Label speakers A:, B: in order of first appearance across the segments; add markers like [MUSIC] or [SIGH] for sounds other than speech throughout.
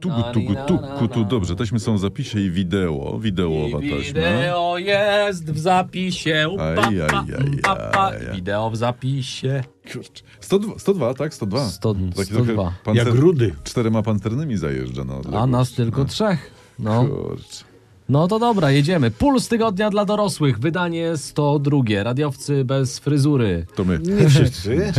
A: tugu, tugu, tugu, tu. Dobrze, taśmy są w zapisie i wideo, wideowa
B: I
A: taśma.
B: Wideo jest w zapisie. Upa, pa,
A: Aj, aj, aj,
B: pa, pa.
A: aj.
B: Wideo w zapisie.
A: Kurczę. 102, 102, tak? 102.
C: Sto-
A: To taki
C: 102.
A: trochę pancer-
D: Jak rudy.
A: Czterema panternymi zajeżdża na
C: A
A: odległość,
C: nas tylko
A: no.
C: trzech. No.
A: Kurczę.
C: no to dobra, jedziemy. Puls tygodnia dla dorosłych, wydanie 102. Radiowcy bez fryzury.
A: To my. [LAUGHS]
D: Nie wszyscy.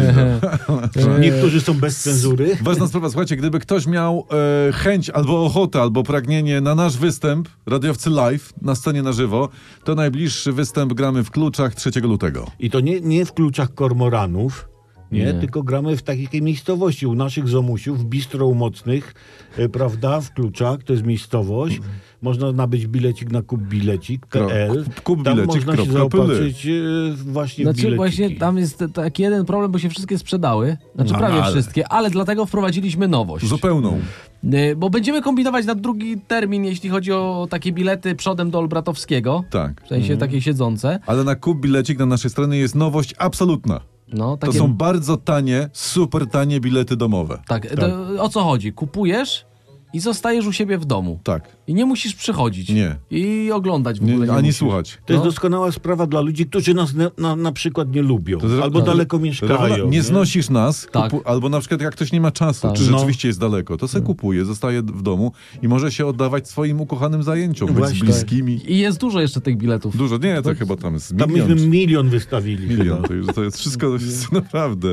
D: Niektórzy są bez cenzury.
A: Ważna sprawa, słuchajcie, gdyby ktoś miał e, chęć albo ochotę, albo pragnienie na nasz występ, radiowcy live, na scenie na żywo, to najbliższy występ gramy w Kluczach 3 lutego.
D: I to nie, nie w kluczach kormoranów, nie,
C: Nie.
D: tylko gramy w takiej miejscowości, u naszych zomusiów, bistro mocnych, e, prawda, w kluczach, to jest miejscowość. Można nabyć bilecik na kupbilecik.pl.
A: Kup- kup
D: Tam
A: bilecik
D: można się
A: kropka
D: zaopatrzyć e, właśnie w
C: Znaczy
D: bileciki.
C: właśnie tam jest taki jeden problem, bo się wszystkie sprzedały. Znaczy
A: No,
C: prawie
A: ale-
C: wszystkie, ale dlatego wprowadziliśmy nowość.
A: Zupełną.
C: Y, Bo będziemy kombinować na drugi termin, jeśli chodzi o takie bilety przodem do Olbratowskiego.
A: Tak.
C: W sensie takie siedzące.
A: Ale na kup bilecik na naszej stronie jest nowość absolutna.
C: No,
A: To
C: takie,
A: są bardzo tanie, super tanie bilety domowe.
C: tak, To, o co chodzi? Kupujesz i zostajesz u siebie w domu.
A: Tak.
C: I nie musisz przychodzić.
A: Nie.
C: I oglądać w ogóle.
A: Nie,
C: Nie,
A: ani
C: musisz.
A: słuchać.
D: To jest
C: No.
D: doskonała sprawa dla ludzi, którzy nas na, na, na przykład nie lubią
A: jest-
D: albo
A: no,
D: daleko
A: Rewela-
D: mieszkają.
A: nie znosisz nas,
C: Tak.
A: kupu- albo na przykład jak ktoś nie ma czasu,
C: Tak.
A: czy
D: No.
A: rzeczywiście jest daleko, to se kupuje, zostaje w domu i może się oddawać swoim ukochanym zajęciom, być z
D: Właśnie.
A: bliskimi.
C: I jest dużo jeszcze tych biletów.
A: Dużo, nie,
C: Tak.
A: to chyba tam jest
D: Tam
A: milion.
D: myśmy milion wystawili.
A: Milion, to, już, to jest
D: [LAUGHS]
A: wszystko naprawdę.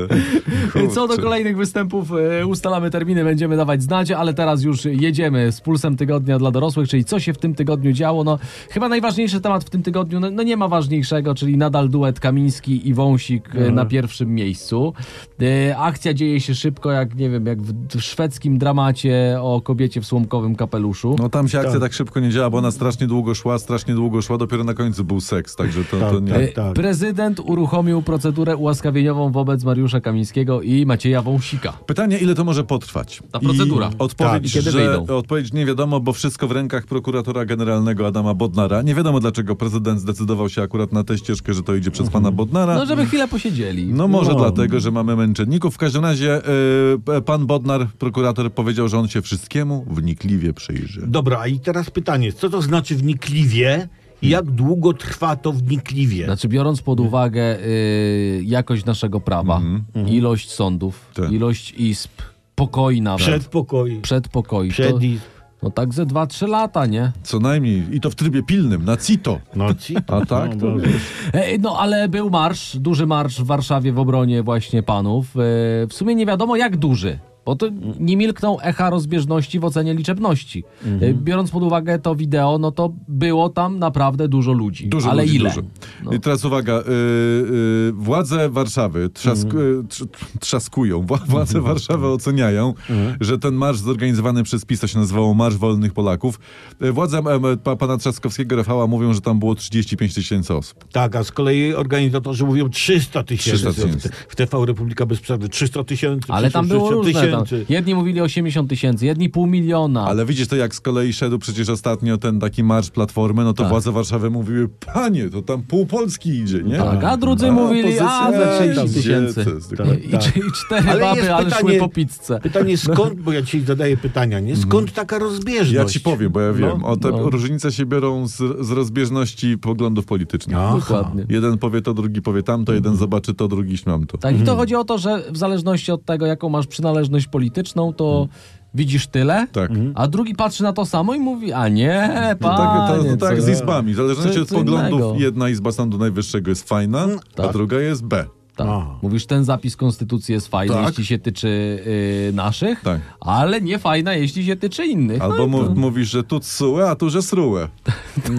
C: Co do
A: Kurczę.
C: kolejnych występów, e, ustalamy terminy, będziemy dawać znać, ale teraz już jedziemy z pulsem tygodnia dla dorosłych, czyli co się w tym tygodniu działo. No, chyba najważniejszy temat w tym tygodniu, no, no nie ma ważniejszego, czyli nadal duet Kamiński i Wąsik e,
A: Mhm.
C: na pierwszym miejscu. E, Akcja dzieje się szybko, jak nie wiem, jak w szwedzkim dramacie o kobiecie w słomkowym kapeluszu.
A: No tam się akcja
D: Tak.
A: tak szybko nie działa, bo ona strasznie długo szła, strasznie długo szła, dopiero na końcu był seks, także to, to
D: Tak,
A: nie...
D: tak.
C: E, Prezydent uruchomił procedurę ułaskawieniową wobec Mariusza Kamińskiego i Macieja Wąsika.
A: Pytanie, ile to może potrwać?
C: Ta procedura.
A: I odpowiedź,
C: Tak. I kiedy
A: że,
C: wyjdą?
A: odpowiedź nie wiadomo, bo wszystko w rękach prokuratora generalnego Adama Bodnara. Nie wiadomo, dlaczego prezydent zdecydował się akurat na tę ścieżkę, że to idzie przez pana Bodnara.
C: No, żeby chwilę posiedzieli.
A: No może
D: No.
A: dlatego, że mamy męczenników. W każdym razie y, pan Bodnar, prokurator, powiedział, że on się wszystkiemu wnikliwie przyjrzy.
D: Dobra, a i teraz pytanie, co to znaczy wnikliwie
C: Hmm.
D: i jak długo trwa to wnikliwie?
C: Znaczy, biorąc pod uwagę y, jakość naszego prawa, ilość sądów,
A: Tak.
C: ilość izb, pokoi nawet,
D: Przed
C: Przed...
D: pokoi,
C: przedpokoi,
D: przed
C: to,
D: i
C: no tak ze 2-3 lata, nie?
A: Co najmniej. I to w trybie pilnym, na CITO.
C: [LAUGHS]
D: noci.
C: No,
A: A tak? To...
C: Ej, no ale był marsz, duży marsz w Warszawie w obronie właśnie panów. Y, w sumie nie wiadomo jak duży. Bo to nie milkną echa rozbieżności w ocenie liczebności. Y, Biorąc pod uwagę to wideo, no to było tam naprawdę dużo ludzi.
A: Dużo
C: ale
A: ludzi,
C: ile?
A: Dużo.
C: No.
A: I teraz uwaga, y, y, władze Warszawy trzask,
C: Mhm.
A: y, tr, trzaskują, wła- władze Warszawy oceniają,
C: Mhm.
A: że ten marsz zorganizowany przez PiS, to się nazywało Marsz Wolnych Polaków. Y, Władze em, pa, pana Trzaskowskiego, Rafała mówią, że tam było 35 tysięcy osób.
D: Tak, a z kolei organizatorzy mówią 300 tysięcy.
A: 300 tysięcy.
D: W TV Republika bez przerwy 300 tysięcy,
C: Ale tam było
D: 360
C: różne. Tam.
D: tysięcy.
C: Jedni mówili 80 tysięcy, jedni pół miliona.
A: Ale widzisz to, jak z kolei szedł przecież ostatnio ten taki marsz Platformy, no to
C: Tak.
A: władze Warszawy mówiły, panie, to tam pół Polski idzie, nie?
C: Tak, a drudzy mówili, a
A: opozycja
C: za 30
A: idzie,
C: tysięcy. Tak.
A: to jest tylko-
C: I, cz- I cztery
D: Ale jest
C: baby, ale szły
D: pytanie-
C: po pizzę.
D: Pytanie skąd, bo ja dzisiaj zadaję pytania, nie? Skąd taka rozbieżność?
A: Ja ci powiem, bo ja wiem.
D: No,
A: o, te
C: no.
A: różnice się biorą z, z rozbieżności poglądów politycznych.
C: No.
D: Aha.
C: Dokładnie.
A: Jeden powie to, drugi powie tamto,
C: Mhm.
A: jeden zobaczy to, drugi śmam to.
C: Tak, i to chodzi o to, że w zależności od tego, jaką masz przynależność polityczną, to widzisz tyle,
A: Tak.
C: a drugi patrzy na to samo i mówi, a nie,
A: No tak, to,
C: panie,
A: no tak
C: co-
A: z izbami. W zależności
C: co-
A: od
C: co
A: poglądów,
C: innego.
A: jedna izba Sądu Najwyższego jest fajna, a
C: tak.
A: druga jest B.
C: Tak.
D: Aha.
C: Mówisz, ten zapis konstytucji jest fajny,
A: Tak.
C: jeśli się tyczy y, naszych,
A: Tak.
C: ale nie fajna, jeśli się tyczy innych. No
A: Albo
C: i
A: mu- mówisz, że tu tsułe, a tu że
C: [LAUGHS]
A: srułe.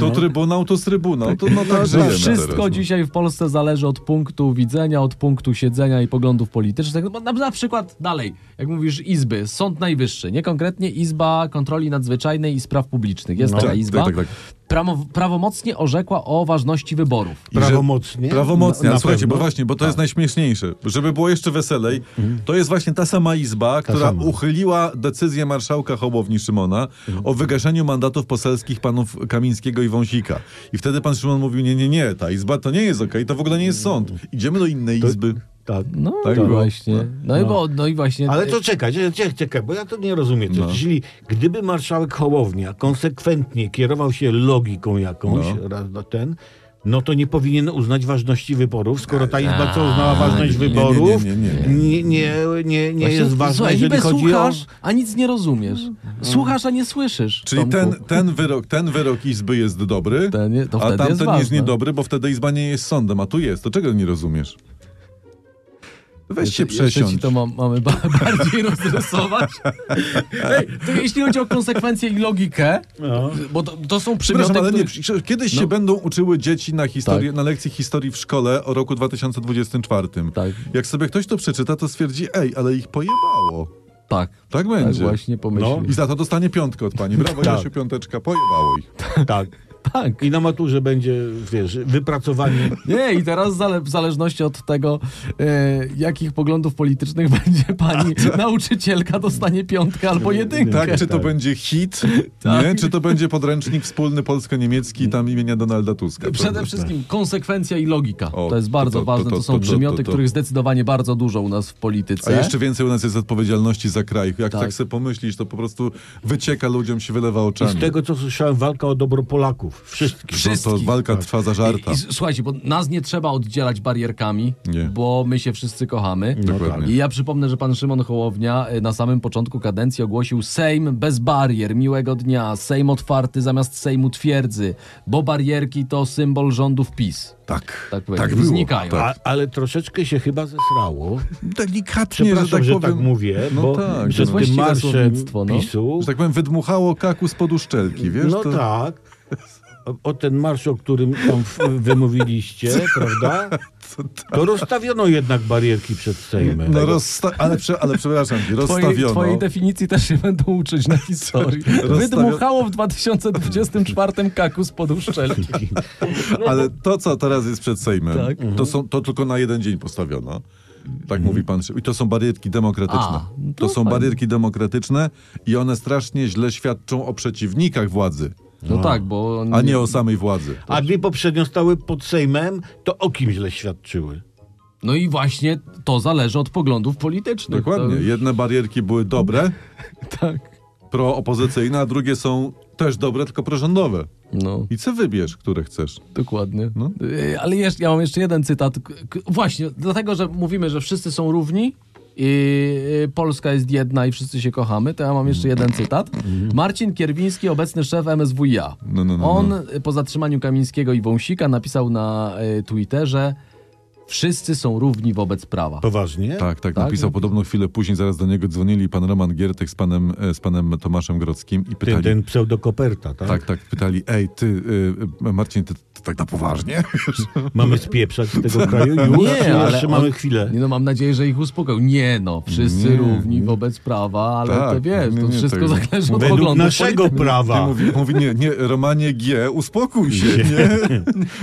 A: Tu trybunał, tu z trybunał. To, no tak
C: No. To
A: żyjemy
C: wszystko
A: teraz, no.
C: dzisiaj w Polsce zależy od punktu widzenia, od punktu siedzenia i poglądów politycznych. No, bo na, na przykład dalej, jak mówisz, Izby, Sąd Najwyższy, nie konkretnie Izba Kontroli Nadzwyczajnej i Spraw Publicznych. Jest
A: No.
C: taka
A: Tak,
C: izba.
A: tak, tak,
C: Prawo, prawomocnie orzekła o ważności wyborów.
A: I że-
D: Prawomocnie?
A: Prawomocnie,
D: Na-
A: ale
D: na
A: słuchajcie, bo
D: pewno.
A: właśnie, bo to jest najśmieszniejsze. Żeby było jeszcze weselej, to jest właśnie ta sama izba, która
D: sama.
A: uchyliła decyzję marszałka Hołowni Szymona o wygaszeniu mandatów poselskich panów Kamińskiego i Wąsika. I wtedy pan Szymon mówił, nie, nie, nie, ta izba to nie jest okej, to w ogóle nie jest sąd. Idziemy do innej izby.
D: Tak.
C: No
A: Tak
C: i
A: było.
C: właśnie. No, i bo, no i właśnie.
D: Ale to czekaj, czekaj, czekaj, bo ja to nie rozumiem.
A: No.
D: Czyli gdyby marszałek Hołownia konsekwentnie kierował się logiką jakąś,
A: No.
D: raz na ten, no to nie powinien uznać ważności wyborów, skoro ta izba co uznała ważność
A: nie, nie,
D: wyborów,
A: nie, nie, nie,
D: nie, nie, nie, nie
C: Właśnie,
D: jest ważna,
C: słuchaj,
D: jeżeli
C: niby
D: chodzi o... Mhm.
C: słuchasz, a nic nie rozumiesz. Słuchasz, a nie słyszysz.
A: Czyli
C: Tomku.
A: ten, ten, wyrok, ten wyrok Izby jest dobry,
C: Ten je- to
A: a
C: wtedy
A: tamten
C: jest
A: jest,
C: ważny.
A: niedobry, bo wtedy Izba nie jest sądem, a tu jest. To czego nie rozumiesz? Weź się
C: Jeszcze- jeszcze Ci
A: przesiądź.
C: to ma, mamy ba [LAUGHS] bardziej rozrysować. Ej, to jeśli chodzi o konsekwencje i logikę,
D: No.
C: bo to, to są przymioty,
A: Przepraszam, ale nie,
C: których-
A: przecież kiedyś
C: no.
A: się będą uczyły dzieci na historii, na lekcji historii w szkole o roku 2024.
C: Tak.
A: Jak sobie ktoś to przeczyta, to stwierdzi, ej, ale ich pojebało.
C: Tak,
A: Tak
C: tak
A: będzie.
C: właśnie pomyślę.
A: I za to dostanie piątkę od pani.
C: [LAUGHS]
A: Brawo,
D: Tak.
A: Jasiu, piąteczka, pojebało ich.
D: Tak.
C: Tak.
D: I na maturze będzie, wiesz, wypracowanie
C: Nie, i teraz zale w zależności od tego, e, jakich poglądów politycznych [LAUGHS] będzie pani nauczycielka, dostanie piątkę albo jedynkę.
A: Tak, czy to będzie
C: [LAUGHS]
A: hit,
C: Tak.
A: nie? czy to będzie podręcznik wspólny polsko-niemiecki tam imienia Donalda Tuska.
C: Przede
A: Prawda?
C: wszystkim konsekwencja i logika.
A: O,
C: to jest
A: to-
C: bardzo
A: to- to-
C: ważne. To,
A: to-
C: są
A: to- to-
C: przymioty,
A: to- to-
C: których zdecydowanie bardzo dużo u nas w
A: A
C: polityce.
A: jeszcze więcej u nas jest odpowiedzialności za kraj. Jak
C: Tak.
A: tak, sobie pomyślisz, to po prostu wycieka ludziom, się wylewa
D: i z
A: oczami.
D: tego, co słyszałem, walka o dobro Polaków. Wszystkich.
A: No to
C: wszystkich, Tak.
A: walka trwa za żarta.
C: I, i, słuchajcie, bo nas nie trzeba oddzielać barierkami,
A: Nie.
C: bo my się wszyscy kochamy.
A: Dokładnie.
C: I ja przypomnę, że pan Szymon Hołownia y, na samym początku kadencji ogłosił Sejm bez barier, miłego dnia, Sejm otwarty zamiast Sejmu twierdzy, bo barierki to symbol rządów PiS.
A: Tak,
C: Tak
A: tak,
C: powiem.
A: było.
C: Znikają.
A: Tak.
D: A, ale troszeczkę się chyba zesrało.
A: Delikatnie,
D: Przepraszam, że tak,
A: powiem.
D: mówię,
A: no
D: bo
A: tak,
D: przed
A: no.
D: tym
C: Właściwe
D: marszem
C: słownictwo, no.
D: PiSu...
A: Że tak powiem, wydmuchało kaku spod uszczelki, wiesz?
D: no
A: to...
D: tak. O, o ten marsz, o którym tam w- wymówiliście, prawda? To rozstawiono jednak barierki przed Sejmem.
A: No rozsta- ale, prze- ale przepraszam, cię,
C: Twojej,
A: rozstawiono.
C: twojej definicji też się będą
A: [LAUGHS]
C: uczyć na historii.
A: Rozstawio-
C: Wydmuchało w 2024 kakus pod uszczelki.
A: [LAUGHS] Ale to, co teraz jest przed Sejmem,
C: Tak.
D: Mhm.
A: to, są, to tylko na jeden dzień postawiono. Tak mówi
D: Mhm.
A: pan Szyb. I to są barierki demokratyczne.
C: A, no to
A: to są
C: fajnie.
A: barierki demokratyczne i one strasznie źle świadczą o przeciwnikach władzy,
C: No tak, bo...
A: a nie o samej władzy.
D: A dwie poprzednio stały pod Sejmem, to o kim źle świadczyły?
C: No i właśnie to zależy od poglądów politycznych.
A: Dokładnie.
D: No
C: To...
A: Jedne barierki były dobre,
C: [LAUGHS] Tak.
A: proopozycyjne, a drugie są też dobre, tylko prorządowe.
C: No,
A: I co wybierz, które chcesz.
C: dokładnie.
A: No.
C: Y, Ale jeszcze, ja mam jeszcze jeden cytat. K- k- Właśnie, dlatego, że mówimy, że wszyscy są równi i y, Polska jest jedna i wszyscy się kochamy, to ja mam jeszcze
A: Mm.
C: jeden cytat. Marcin Kierwiński, obecny szef MSWiA.
A: Mhm. No, no, no,
C: On
A: no.
C: y, po zatrzymaniu Kamińskiego i Wąsika napisał na y, Twitterze Wszyscy są równi wobec prawa.
D: Poważnie?
A: Tak, tak,
C: Tak?
A: napisał podobno chwilę później, zaraz do niego dzwonili pan Roman Giertek z panem, e, z panem Tomaszem Grockim i pytali...
D: Ten, ten pseudokoperta, tak?
A: Tak, tak, pytali, ej, ty, y, y, Marcin, ty, ty tak na poważnie? [LAUGHS]
D: Mamy spieprzać z tego kraju już?
C: Nie,
D: Czy
C: ale
D: jeszcze
C: on-
D: mamy chwilę.
C: Nie no, mam nadzieję, że ich uspokojał. Nie no, wszyscy
A: Nie,
C: równi
A: nie.
C: wobec prawa, ale
A: Tak,
C: to wiesz,
A: nie,
C: to
A: nie,
C: wszystko
A: to-
C: zależy od
D: Według
C: poglądu
D: naszego
A: Ty
D: prawa.
A: mówi, mówi, nie, nie, Romanie G, uspokój się, nie?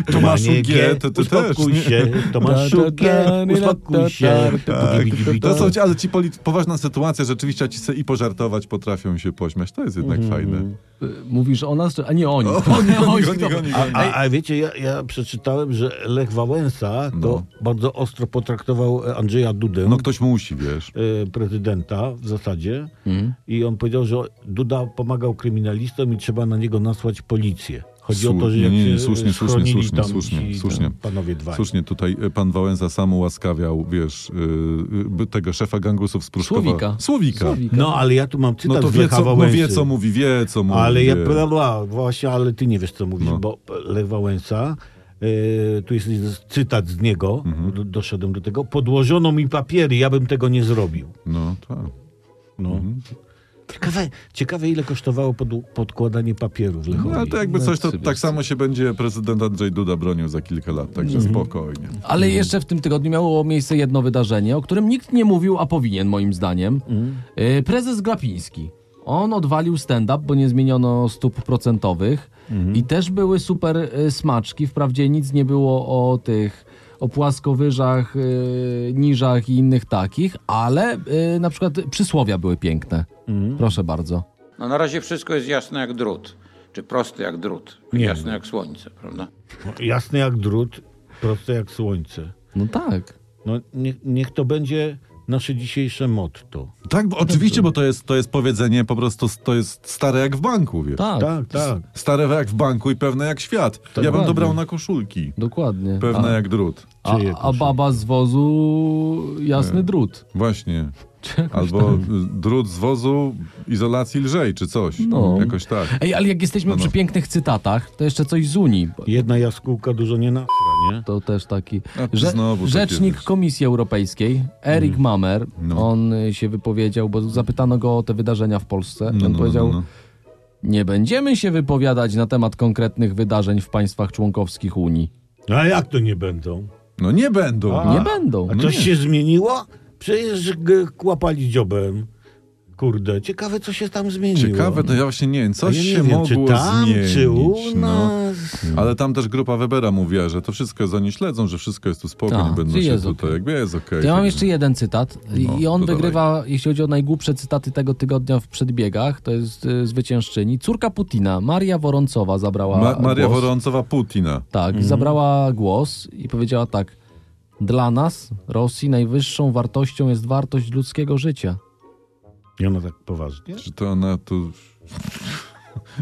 A: [LAUGHS] Tomaszu
D: Panie
A: G, ty, ty też,
D: uspokój
A: nie?
D: się, Tomaszu G, uspokój
A: To
D: się.
A: są, ci- Tak. No, ale ci polit, poważna sytuacja, rzeczywiście, a ci se i pożartować potrafią się pośmiać, to jest jednak fajne.
C: politycznego. Mówisz o nas, czy... a nie o nich. [LAUGHS]
A: O,
C: nie, o
A: Mhm. [LAUGHS]
C: nich,
A: oni,
C: dobra.
A: oni, oni.
D: A, a wiecie, ja, ja przeczytałem, że Lech Wałęsa to
A: No.
D: bardzo ostro potraktował e, Andrzeja Dudę,
A: No ktoś musi, wiesz.
D: e, prezydenta w zasadzie.
A: Mm.
D: I on powiedział, że Duda pomagał kryminalistom i trzeba na niego nasłać policję. Chodzi o to, że
A: Słusznie,
D: jak
A: nie,
D: się
A: nie,
D: e,
A: słusznie, słusznie,
D: schronili
A: słusznie,
D: tam
A: słusznie,
D: ci,
A: słusznie.
D: Tam panowie dwaj.
A: Słusznie, tutaj e, pan Wałęsa sam ułaskawiał, wiesz, y, y, tego szefa gangusów z Pruszkowa.
C: Słowika.
A: Słowika.
C: Słowika.
D: No, ale ja tu mam cytat
A: No to
D: z
A: wie
D: Lecha
A: co, no
D: Wałęsy.
A: wie, co mówi, wie, co mówi.
D: Ale ja
A: wie.
D: bla, bla, właśnie, ale ty nie wiesz, co mówisz,
A: No.
D: bo Lech Wałęsa, yy, tu jest cytat z niego,
A: Mhm.
D: do, doszedłem do tego, podłożono mi papiery, ja bym tego nie zrobił.
A: No tak.
D: No.
A: Mhm.
D: Ciekawe, ciekawe, ile kosztowało pod, podkładanie papierów
A: No,
D: Lechowi.
A: ale to jakby coś, to
C: sobie
A: tak samo się będzie prezydent Andrzej Duda bronił za kilka lat, także spokojnie.
C: Ale jeszcze w tym tygodniu miało miejsce jedno wydarzenie, o którym nikt nie mówił, a powinien moim zdaniem. Y, Prezes Glapiński. On odwalił stand-up, bo nie zmieniono stóp procentowych i też były super y, smaczki. Wprawdzie nic nie było o tych o płaskowyżach, y, niżach i innych takich, ale y, na przykład przysłowia były piękne. Proszę bardzo.
E: No na razie wszystko jest jasne jak drut, czy proste jak drut, jasne
D: No,
E: jak słońce, prawda?
D: Jasne jak drut, proste jak słońce.
C: No tak.
D: No, niech, niech to będzie nasze dzisiejsze motto.
A: Tak, bo, oczywiście, bo to jest, to jest powiedzenie po prostu, s- to jest stare jak w banku, wiesz.
C: Tak,
D: Tak, tak.
A: Stare jak w banku i pewne jak świat. ja bym to
C: Dokładnie.
A: brał na koszulki.
C: dokładnie. Tak.
A: Pewne
C: a,
A: jak drut.
C: a,
D: Czyje
C: a baba z wozu jasny drut.
A: Właśnie. Albo y, drut z wozu, izolacji lżej, czy coś.
C: No.
A: Jakoś tak.
C: Ej, ale jak jesteśmy
A: No, no.
C: przy pięknych cytatach, to jeszcze coś z Unii. bo
D: Jedna jaskółka dużo nie nasra, nie?
C: To też taki
A: A ty
C: Rze-
A: znowu takie
C: rzecznik
A: rzeczy.
C: Komisji Europejskiej, Erik Mamer,
A: No.
C: on y, się wypowiedział, bo zapytano go o te wydarzenia w Polsce.
A: No,
C: on
A: no,
C: powiedział,
A: no, no.
C: nie będziemy się wypowiadać na temat konkretnych wydarzeń w państwach członkowskich Unii.
D: A jak to nie będą?
A: no nie będą.
D: A.
C: Nie będą.
D: A coś się zmieniło? Przecież g- kłapali dziobem. Kurde, ciekawe co się tam zmieniło.
A: Ciekawe, to ja właśnie nie wiem,
D: A
A: coś
D: ja nie
A: się
D: wiem,
A: mogło
D: czy tam,
A: zmienić.
D: czy u
A: no.
D: nas.
A: Ale tam też grupa Webera mówiła, że to wszystko jest, oni śledzą, że wszystko jest tu spoko,
C: Tak,
A: nie będą
C: czy
A: się
C: jest
A: tutaj,
C: okej.
A: jakby jest okej. tak.
C: To ja mam
A: także-
C: jeszcze jeden cytat i-
A: No,
C: i on
A: to dawaj.
C: wygrywa, jeśli chodzi o najgłupsze cytaty tego tygodnia w przedbiegach, to jest y, zwyciężczyni. Córka Putina, Maria Woroncowa zabrała
A: Ma- Maria Mhm.
C: głos.
A: Woroncowa Putina.
C: Tak, zabrała głos i powiedziała tak. Dla nas, Rosji, najwyższą wartością jest wartość ludzkiego życia.
D: I ona tak poważnie?
A: Czy to ona tu...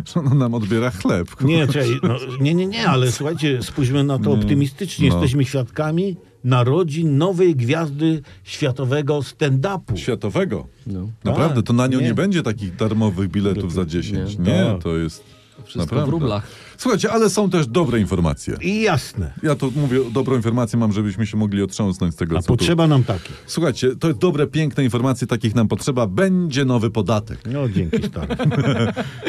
A: [LAUGHS] że ona nam odbiera chleb.
D: Nie, czekaj, no, nie, nie, nie, ale słuchajcie, spójrzmy na to optymistycznie.
A: no.
D: Jesteśmy świadkami narodzin nowej gwiazdy światowego stand-upu.
A: Światowego.
C: No.
A: Naprawdę, to na nią nie,
D: nie.
A: będzie takich darmowych biletów za 10. Nie,
C: Nie.
D: Tak.
A: to jest...
C: Wszystko
A: Naprawdę.
C: w rublach.
A: Słuchajcie, ale są też dobre informacje.
D: I jasne.
A: Ja tu mówię, dobrą informację mam, żebyśmy się mogli otrząsnąć z tego,
D: A
A: co tu
D: potrzeba nam takich.
A: Słuchajcie, to jest dobre, piękne informacje, takich nam potrzeba. Będzie nowy podatek,
D: No dzięki
A: [LAUGHS]
D: stary.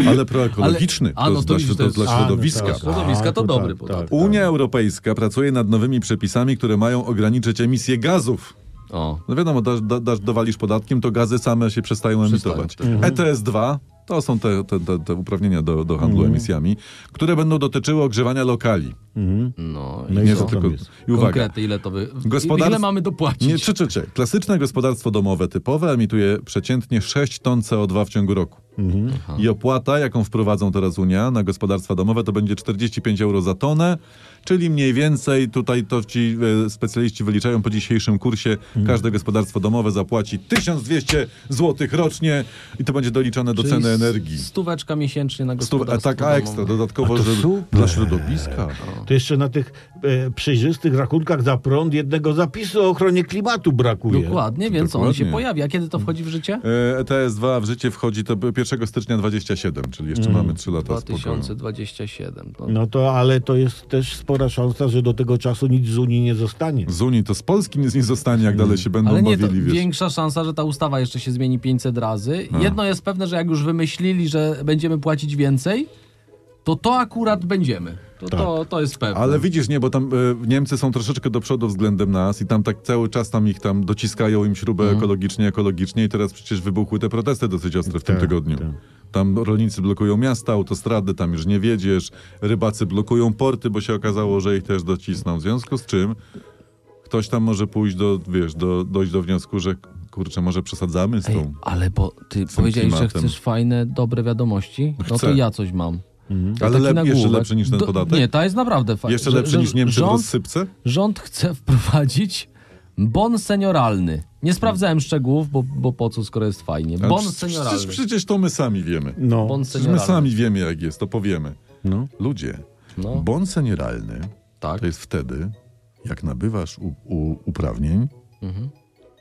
A: ale proekologiczny.
C: Ale- a, no
A: jest
C: to
A: dla,
C: widzisz,
A: śro-
C: to
A: to jest
C: jest-
A: dla
D: a, no
A: środowiska.
D: tak.
C: Środowiska
D: A,
C: to
D: to
C: dobry
D: tak,
C: podatek.
D: tak.
A: Unia Europejska pracuje nad nowymi przepisami, które mają ograniczyć emisję gazów.
C: O.
A: No wiadomo, dasz, da, dasz, dowalisz podatkiem, to gazy same się przestają
C: Przestają,
A: emitować.
D: Mhm.
A: E ETS-2 to są te, te, te, te uprawnienia do, do handlu
D: Mhm.
A: emisjami, które będą dotyczyły ogrzewania lokali.
C: No,
D: No
C: i
D: i
A: Nie,
D: co
A: to
C: co?
D: tam
A: tylko...
D: jest?
A: I uwaga,
C: Konkrety, ile to wy...
A: Gospodarstw-
C: Ile mamy dopłacić?
A: Nie, czy, czy, czy. Klasyczne gospodarstwo domowe typowe emituje przeciętnie 6 ton CO2 w ciągu roku. I opłata, jaką wprowadzą teraz Unia na gospodarstwa domowe, to będzie 45 euro za tonę, czyli mniej więcej tutaj to ci e, specjaliści wyliczają po dzisiejszym kursie, każde gospodarstwo domowe zapłaci 1200 zł rocznie i to będzie doliczone do
C: Czyli
A: ceny
C: s-
A: energii.
C: Stóweczka miesięcznie na
A: Stu,
C: gospodarstwo
A: a tak, a
C: domowe.
A: ekstra, dodatkowo,
D: A to
A: że
D: super.
A: dla środowiska.
D: To jeszcze na tych e, przejrzystych rachunkach za prąd jednego zapisu o ochronie klimatu brakuje.
C: Dokładnie, więc on
A: Dokładnie.
C: się pojawi. A kiedy to wchodzi w życie?
A: E, ETS 2 w życie wchodzi to 1 stycznia 27, czyli jeszcze mamy 3 lata spokoju.
C: 2027. No,
D: No to, ale to jest też spora szansa, że do tego czasu nic z Unii nie zostanie.
A: Z Unii to z Polski nic nie zostanie, jak dalej się będą
C: Ale nie, to
A: bawili, no wiesz. No.
C: większa szansa, że ta ustawa jeszcze się zmieni 500 razy. Jedno jest pewne, że jak już wymyślili, że będziemy płacić więcej, to to akurat będziemy. To, to, to jest pewne.
A: Tak. Ale widzisz, nie, bo tam e, Niemcy są troszeczkę do przodu względem nas i tam tak cały czas tam ich tam dociskają im śrubę
C: Mhm.
A: ekologicznie, ekologicznie i teraz przecież wybuchły te protesty dosyć ostre w tym
D: Tak,
A: tygodniu.
D: tak.
A: Tam rolnicy blokują miasta, autostrady, tam już nie wiedziesz, rybacy blokują porty, bo się okazało, że ich też docisną. W związku z czym ktoś tam może pójść do, wiesz, do, dojść do wniosku, że kurczę, może przesadzamy z tą...
C: Ej, ale bo ty powiedziałeś, że
A: klimatem.
C: chcesz fajne, dobre wiadomości? No
A: Chcę. Mhm.
C: to ja coś mam. To
A: Ale
C: taki
A: lep-
C: nagłówek.
A: jeszcze lepszy niż ten
C: Do-
A: podatek?
C: Nie, ta jest naprawdę fajna.
A: Jeszcze lepszy niż Niemcy w
C: rząd,
A: rozsypce?
C: rząd chce wprowadzić bon senioralny. Nie sprawdzałem szczegółów, bo, bo po co, skoro jest fajnie.
A: Ale
C: Bon
A: przecież-
C: senioralny.
A: Przecież, przecież to my sami wiemy.
D: No.
C: Bon
A: Przecież my
C: senioralny.
A: sami wiemy, jak jest, to powiemy.
D: No.
A: Ludzie,
C: No.
A: bon senioralny
C: Tak.
A: to jest wtedy, jak nabywasz u, u, uprawnień
C: Mhm.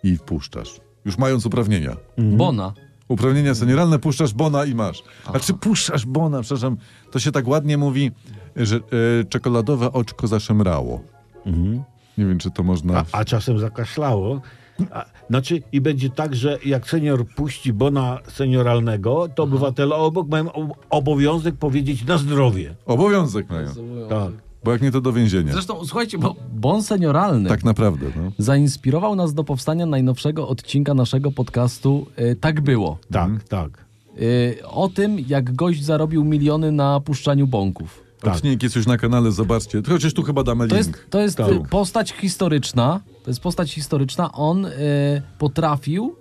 A: i wpuszczasz. Już mając uprawnienia.
C: Bona.
A: Uprawnienia senioralne, puszczasz bona i masz. A czy puszczasz bona, przepraszam, to się tak ładnie mówi, że e, czekoladowe oczko zaszemrało.
C: Mhm.
A: Nie wiem, czy to można...
D: A, a czasem zakaszlało. A, znaczy, i będzie tak, że jak senior puści bona senioralnego, to obywatele obok mają ob- obowiązek powiedzieć na zdrowie.
A: Obowiązek mają,
D: Tak.
A: bo jak nie, to do więzienia.
C: Zresztą słuchajcie, bo bon senioralny
A: Tak naprawdę, no.
C: zainspirował nas do powstania najnowszego odcinka naszego podcastu y, Tak było.
D: Tak,
A: Mhm.
D: tak.
C: Y, o tym, jak gość zarobił miliony na puszczaniu bąków.
D: Tak.
A: Odcinek jest już na kanale, zobaczcie. Chociaż tu chyba damy
C: To
A: link.
C: jest, to jest
D: Tak.
C: y, postać historyczna. To jest postać historyczna. On y, potrafił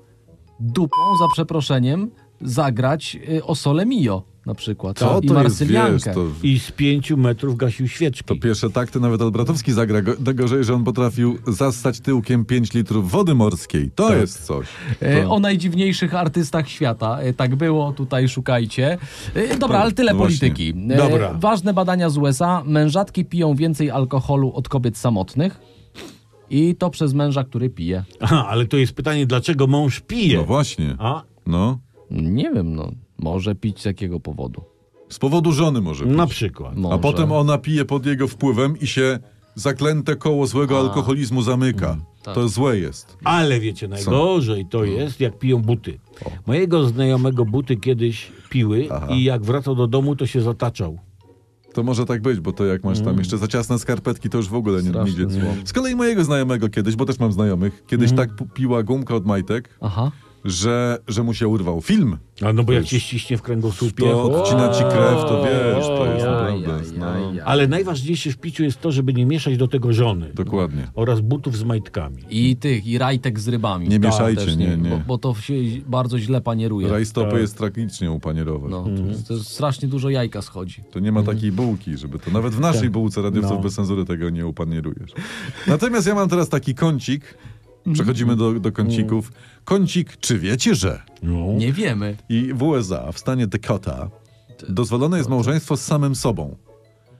C: dupą, za przeproszeniem, zagrać y, o Sole Mio na przykład.
A: Co
C: I
A: to jest,
C: Marsyliankę.
A: wiesz, to,
D: I z pięciu metrów gasił
A: to
D: świeczki.
A: pierwsze takty nawet Albratowski zagra. Go, to gorzej, że on potrafił zastać tyłkiem 5 litrów wody morskiej. To jest coś.
C: Tak. E, O najdziwniejszych artystach świata. E, Tak było, tutaj szukajcie. E, Dobra, ale tyle
A: No właśnie.
C: polityki. E,
D: Dobra.
C: Ważne badania z USA. Mężatki piją więcej alkoholu od kobiet samotnych. I to przez męża, który pije.
D: Aha, ale to jest pytanie, dlaczego mąż
A: No
D: pije?
A: właśnie.
D: A,
A: No.
C: Nie wiem, no. Może pić z jakiego powodu.
A: Z powodu żony może być.
D: na przykład.
C: No Może.
A: A potem ona pije pod jego wpływem i się zaklęte koło złego alkoholizmu zamyka.
C: tak.
A: To złe jest.
D: Ale wiecie, najgorzej to
A: Mm.
D: jest, jak piją buty. Mojego znajomego buty kiedyś piły i jak wracał do domu, to się zataczał.
A: To może tak być, bo to jak masz
C: Mm.
A: tam jeszcze za ciasne skarpetki, to już w ogóle nie
C: Straszne
A: idzie.
C: zło.
A: Z kolei mojego znajomego kiedyś, bo też mam znajomych, kiedyś
C: Mm.
A: tak pu- piła gumka od majtek,
C: Aha.
A: że, że mu się urwał film.
D: A no bo jak cię ściśnie w kręgosłupie...
A: To odcina ci krew, to wiesz, to jest
C: Ojej,
A: naprawdę.
C: ojej,
A: No,
C: ojej.
D: Ale najważniejsze w piciu jest to, żeby nie mieszać do tego żony.
A: dokładnie.
D: Oraz butów z majtkami.
C: I tych, i rajtek z rybami.
A: Nie
C: Tak,
A: mieszajcie,
C: też
A: nie, nie.
C: Bo, bo to się bardzo źle panieruje.
A: Rajstopy jest tragicznie upanierowe.
C: No, to,
A: Mhm.
C: to strasznie dużo jajka schodzi.
A: To nie ma takiej bułki, żeby to. Nawet w naszej bułce radiowców
D: No.
A: bez cenzury tego nie upanierujesz. Natomiast ja mam teraz taki kącik. Przechodzimy do, do kącików. Kącik, czy wiecie, że?
D: No.
C: Nie wiemy.
A: I w USA, w stanie Dakota, dozwolone jest małżeństwo z samym sobą.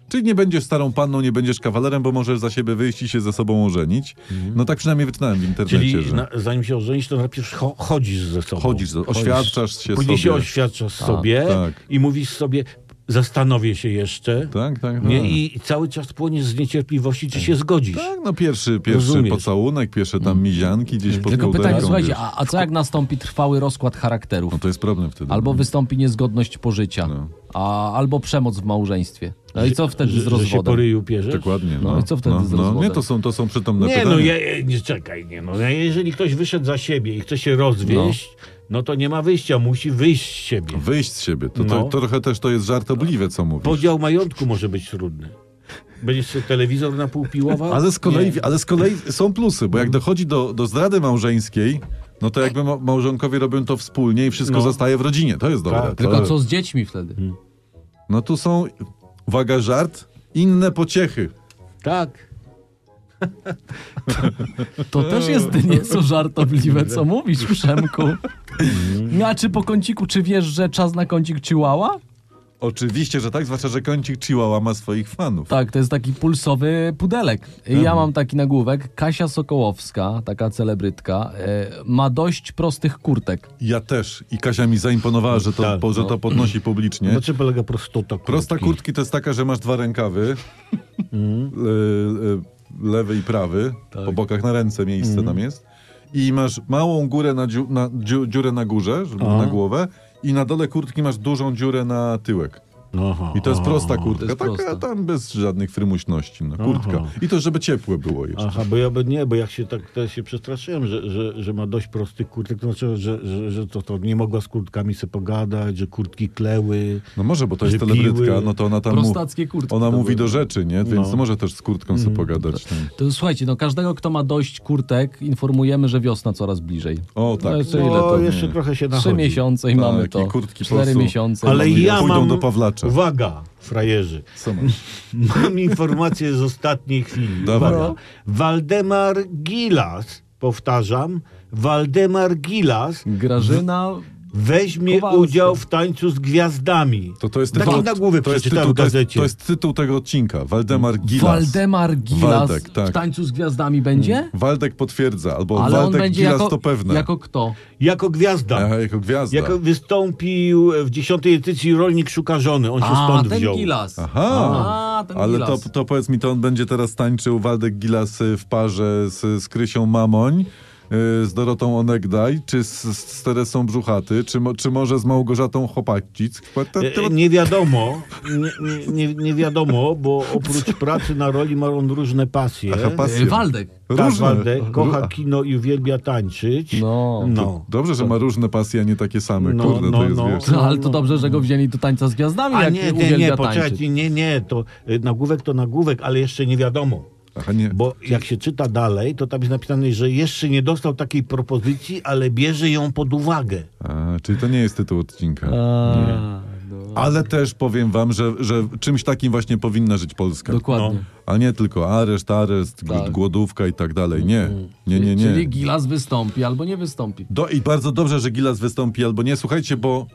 A: Czyli nie będziesz starą panną, nie będziesz kawalerem, bo możesz za siebie wyjść i się ze sobą ożenić. No tak przynajmniej wyczytałem w internecie,
D: Czyli
A: że
D: na, zanim się ożenisz, to najpierw cho chodzisz ze sobą.
A: chodzisz, do- oświadczasz się
D: Później się
A: sobie.
D: oświadczasz sobie
A: tak.
D: i mówisz sobie, zastanowię się jeszcze.
A: tak, tak.
D: Nie,
A: tak.
D: I cały czas płoniesz z niecierpliwości, czy się zgodzisz.
A: Tak, no pierwszy, pierwszy
D: Rozumiesz.
A: pocałunek, pierwsze tam mizianki gdzieś pod
C: Tylko
A: kołderką,
C: pytanie, słuchajcie,
A: wiesz.
C: a, a co jak nastąpi trwały rozkład charakterów?
A: No to jest problem wtedy.
C: Albo wystąpi niezgodność pożycia, a, albo przemoc w małżeństwie. No i co wtedy z
D: No. Że, że się po
C: rozwodem?
D: ryju pierzesz?
A: Dokładnie.
C: No
A: No,
C: i co wtedy
A: no,
C: z
A: no,
C: rozwodem?
A: Nie, to są, to są przytomne
D: Nie,
A: pytania.
D: no ja, ja- nie, czekaj, nie, no ja- jeżeli ktoś wyszedł za siebie i chce się rozwieść, no, to nie ma wyjścia, musi wyjść z siebie.
A: Wyjść z siebie. To,
D: No.
A: to, to trochę też to jest żartobliwe, co mówisz.
D: Podział majątku może być trudny. Będziesz sobie telewizor na pół piłował?
A: Ale z, kolei,
D: Nie.
A: ale z kolei są plusy, bo jak dochodzi do, do zdrady małżeńskiej, no to jakby ma- małżonkowie robią to wspólnie i wszystko
D: No.
A: zostaje w rodzinie. To jest dobre.
D: Tak.
A: To-
C: Tylko co z dziećmi wtedy?
D: Hmm.
A: No tu są, uwaga, żart, inne pociechy.
D: Tak.
C: [LAUGHS] To też jest nieco żartobliwe, co mówisz, Przemku.
D: Hmm.
C: No, A czy po kąciku, czy wiesz, że czas na kącik Chihuahua?
A: Oczywiście, że tak, zwłaszcza, że kącik Chihuahua ma swoich fanów.
C: Tak, to jest taki pulsowy pudelek.
D: Mhm.
C: Ja mam taki nagłówek. Kasia Sokołowska, taka celebrytka, e, ma dość prostych kurtek.
A: Ja też. I Kasia mi zaimponowała, że to,
D: Tak, No
A: po, że to podnosi publicznie.
D: Na czym polega prostota kurtki?
A: Prosta kurtki to jest taka, że masz dwa
C: [LAUGHS]
A: rękawy. le- le- lewy i prawy.
C: Tak.
A: Po bokach na ręce miejsce
C: Mhm.
A: tam jest. I masz małą górę na, dziu, na dziu, dziurę na górze, żeby na głowę. I na dole kurtki masz dużą dziurę na tyłek.
D: Aha.
A: I to jest prosta kurtka.
C: jest
A: taka
C: prosta.
A: tam bez żadnych frymuśności. No, kurtka.
D: Aha.
A: I to, żeby ciepłe było jeszcze.
D: Aha, bo ja by nie, bo jak się tak teraz się przestraszyłem, że, że, że ma dość prosty kurtek, to znaczy, że, że, że to, to nie mogła z kurtkami sobie pogadać, że kurtki kleły.
A: No może, bo to jest
D: Że
A: celebrytka,
D: piły.
A: no to ona tam mu,
C: Prostackie kurtki.
A: ona
C: to
A: mówi
C: były. Mhm.
A: do rzeczy, nie? Więc
D: No.
A: to może też z kurtką sobie pogadać. Tam.
C: To słuchajcie, no każdego, kto ma dość kurtek, informujemy, że wiosna coraz bliżej.
A: O
C: No
A: tak.
C: jeszcze
D: No,
C: ile to?
D: jeszcze trochę się
C: Trzy
D: nachodzi.
C: miesiące i
A: Tak,
C: mamy
A: i
C: to.
A: kurtki po
C: Cztery
A: prostu.
C: miesiące. i
D: Ale
C: mamy
D: ja
A: Pójdą
D: mam...
A: do Pawlacza.
D: Uwaga, frajerzy.
A: Co masz?
C: [LAUGHS]
D: Mam informację z ostatniej chwili.
A: Dawaj.
C: No.
D: Uwaga. Waldemar Gilas, powtarzam, Waldemar Gilas
C: Grażyna...
D: weźmie
C: Kowalska.
D: udział w tańcu z gwiazdami. Tak
A: To, to jest
D: Taki
A: tytuł,
D: nagłówek
A: to jest
D: przeczytałem
A: tytuł,
D: w
A: to jest,
D: gazecie. Mm.
A: to jest tytuł tego odcinka. Waldemar Gilas.
C: Waldemar Gilas
A: Waldek, tak.
C: w tańcu z gwiazdami będzie?
A: Waldek potwierdza, albo
C: Ale on
A: Waldek
C: będzie
A: Gilas
C: jako,
A: to pewne.
C: jako kto?
D: Jako gwiazda.
A: Aha, jako gwiazda.
D: Jako wystąpił w dziesiątej edycji Rolnik Szuka Żony. On się
C: A,
D: stąd
C: ten
D: wziął.
C: Gilas.
A: Aha,
C: A, ten
A: ale to,
C: Gilas.
A: to powiedz mi, to on będzie teraz tańczył Waldek Gilas y, w parze z, z Krysią Mamoń, y, z Dorotą Onegdaj, czy z, z Teresą Brzuchaty, czy, mo- czy może z Małgorzatą Chopakcic?
D: E, e, Nie wiadomo, nie, nie- nie, nie wiadomo, bo oprócz pracy na roli ma on różne pasje.
A: Aha, pasje.
C: Y, Waldek.
D: Tak,
A: Różne.
D: Waldek
A: Ró-
D: kocha kino i uwielbia tańczyć.
C: No.
D: no.
A: Dobrze, że ma różne pasje, a nie takie same.
D: No,
A: Kurde, to
D: no,
A: jest,
D: no.
A: wiesz...
C: No, ale to dobrze, że go wzięli do tańca z gwiazdami,
D: A
C: jak
D: nie, nie,
C: uwielbia
D: nie,
C: tańczyć.
D: poczekajcie, nie, nie, to y, nagłówek to nagłówek, ale jeszcze nie wiadomo.
A: Aha, nie.
D: Bo jak się czyta dalej, to tam jest napisane, że jeszcze nie dostał takiej propozycji, ale bierze ją pod uwagę. E,
A: A, czyli to nie jest tytuł odcinka.
C: A, no.
A: Ale też powiem wam, że, że czymś takim właśnie powinna żyć Polska.
C: Dokładnie.
A: A nie tylko areszt, areszt, gl-
C: Tak. Mhm.
A: głodówka i tak dalej. Nie, nie, nie,
C: Czyli
A: nie.
C: Gilas wystąpi albo nie wystąpi.
A: Do, I bardzo dobrze, że Gilas wystąpi albo nie. Słuchajcie, bo...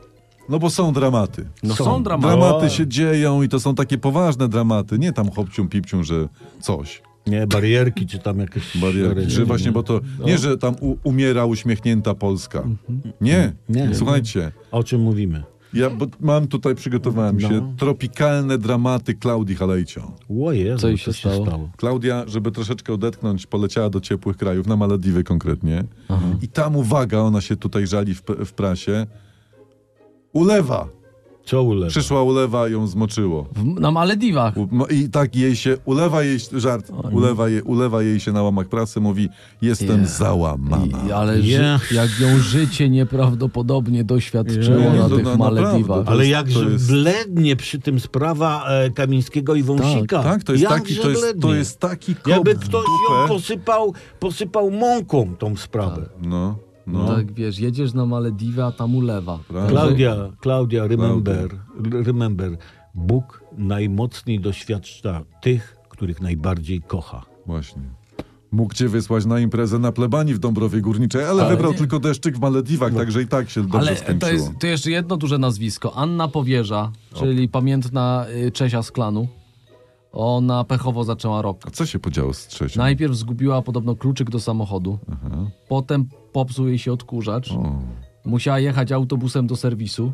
A: No bo są dramaty.
C: No są, dramaty.
A: Dramaty się dzieją i to są takie poważne dramaty. Nie tam chopcium, pipcium, że coś.
D: Nie, barierki czy tam jakieś...
A: [LAUGHS] barierki. Czy właśnie, bo to
C: No.
A: nie, że tam u, umiera uśmiechnięta Polska.
C: Mhm.
A: Nie.
D: Nie.
A: Słuchajcie,
D: O czym mówimy?
A: ja bo mam tutaj, przygotowałem
C: No.
A: się, tropikalne dramaty Klaudii Halejcio.
D: O Jezu,
C: Co jej
D: co
C: się
D: się
C: stało?
D: stało?
A: Klaudia, żeby troszeczkę odetchnąć, poleciała do ciepłych krajów, na Malediwy konkretnie. I tam, uwaga, ona się tutaj żali w, w prasie. Ulewa!
D: Co ulewa?
A: Przyszła ulewa, ją zmoczyło.
C: W, na Malediwach.
A: U- no I tak jej się, ulewa jej, żart, ulewa, je, ulewa jej się na łamach prasy, mówi, jestem
C: Nie.
A: załamana.
C: I, ale ży,
D: Ja.
C: jak ją życie nieprawdopodobnie doświadczyło
A: Nie, nie,
C: na
A: to
C: tych
A: na-
C: Malediwach.
A: naprawdę.
D: Ale
A: jest- to
D: jakże
A: jest-
D: blednie przy tym sprawa e, Kamińskiego i Wąsika.
A: Tak, to jest
D: Jakże
A: taki, to jest, to
D: blednie.
A: jest taki kop
D: Jakby
A: w
D: ktoś ją
A: dupę.
D: posypał, posypał mąką tą sprawę.
A: No, no.
C: Tak, wiesz, jedziesz na Malediwy, a tam ulewa.
A: Prawda.
D: Klaudia, Klaudia, remember, r- remember, Bóg najmocniej doświadcza tych, których najbardziej kocha.
A: Właśnie. Mógł cię wysłać na imprezę na plebanii w Dąbrowie Górniczej, ale, wybrał tylko deszczyk w Malediwach, także i tak się dobrze
C: No. Ale
A: skończyło.
C: to jest to jeszcze jedno duże nazwisko. Anna Powierza, czyli pamiętna y, Czesia z klanu. Ona pechowo zaczęła rok.
A: A co się podziało z trzecią?
C: Najpierw zgubiła podobno kluczyk do samochodu, potem popsuł jej się odkurzacz,
A: O.
C: musiała jechać autobusem do serwisu.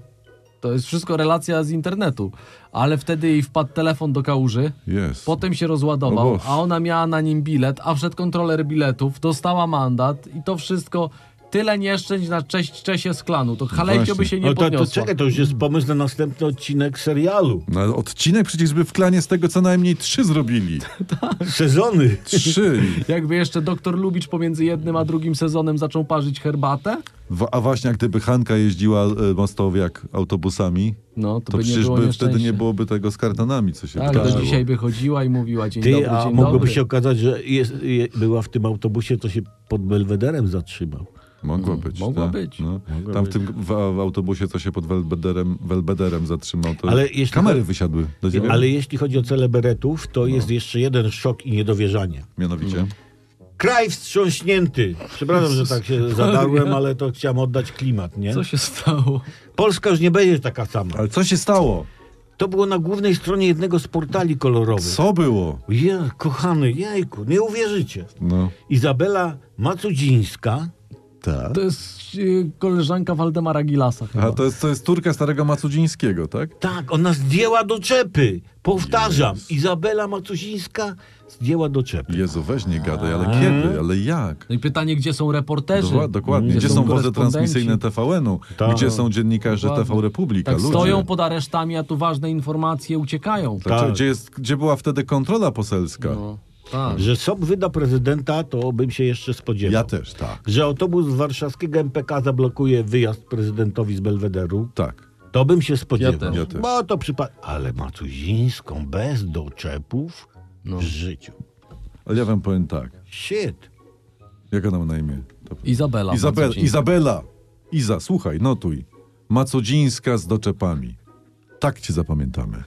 C: To jest wszystko relacja z internetu, ale wtedy jej wpadł telefon do kałuży,
A: Jest.
C: potem się
A: O
C: rozładował,
A: Boże.
C: a ona miała na nim bilet, a wszedł kontroler biletów, dostała mandat i to wszystko tyle nieszczęść na cześć Czesie z klanu. To Halejcio by
A: Właśnie.
C: się nie
D: Ale to, to
C: podniosła.
D: czekaj, to już jest pomysł na następny odcinek [LAUGHS] serialu.
A: No, ale odcinek przecież by w klanie z tego co najmniej trzy zrobili.
C: [LAUGHS]
D: Sezony.
A: Trzy.
C: Jakby jeszcze doktor Lubicz pomiędzy jednym a drugim sezonem zaczął parzyć herbatę,
A: W- A właśnie, jak gdyby Hanka jeździła e, mostowiak autobusami,
C: no to,
A: to
C: by nie
A: przecież
C: było
A: by wtedy
C: nieszczęścia.
A: nie byłoby tego z kardanami, co się
C: Tak,
A: wydarzyło.
C: do dzisiaj by chodziła i mówiła dzień
D: Ty,
C: dobry,
D: a
C: dzień
D: mogłoby
C: dobry.
D: się okazać, że jest, je, była w tym autobusie, to się pod Belwederem zatrzymał.
A: Mogło być.
C: Mm, mogło
A: tak,
C: być.
A: No. Tam w tym w, w autobusie, co się pod Welbederem, Welbederem zatrzymał, to
D: Ale jeśli-
A: kamery wysiadły do ciebie.
D: Ale jeśli chodzi o celeberetów, to jest jeszcze jeden szok i niedowierzanie.
A: Mianowicie.
D: Kraj wstrząśnięty. Przepraszam, że tak się zadarłem, ale to chciałem oddać klimat, nie?
C: Co się stało?
D: Polska już nie będzie taka sama.
A: Ale co się stało?
D: To było na głównej stronie jednego z portali kolorowych.
A: Co było?
D: Je, kochany, jajku, nie uwierzycie.
A: No.
D: Izabela Macudzińska,
A: Tak.
C: To jest y, koleżanka Waldemara Gilasa. chyba.
A: A to jest, to jest Turka Starego Macudzińskiego, tak?
D: tak, ona zdjęła doczepy. Powtarzam, Izabela Macudzińska zdjęła doczepy.
A: Jezu, weź nie gadaj, ale
C: Mhm.
A: kiedy? Ale jak?
C: No i pytanie, gdzie są reporterzy?
A: Dokła- dokładnie. Gdzie, są wozy
C: korespondenci?
A: transmisyjne TVN-u?
D: Tak.
A: Gdzie są dziennikarze
C: Dokładnie.
A: TV Republika?
C: Tak
A: Ludzie.
C: stoją pod aresztami, a tu ważne informacje uciekają.
A: Tak,
D: Tak.
A: Gdzie, jest, gdzie była wtedy kontrola poselska?
C: No, tak.
D: Że SOP wyda prezydenta, to bym się jeszcze spodziewał.
A: Ja też, tak.
D: Że autobus z warszawskiego MPK zablokuje wyjazd prezydentowi z Belwederu,
A: Tak.
D: to bym się spodziewał.
C: też.
A: Ja też.
D: Bo to przypadek. Ale Macuzińską bez doczepów
A: No.
D: w życiu.
A: Ale ja wam powiem tak.
D: Shit.
A: Jak ona ma na imię? To-
C: Izabela.
A: Izabela,
C: Macudzińska.
A: Izabela, Iza, słuchaj, notuj. Macodzińska z doczepami. Tak cię zapamiętamy.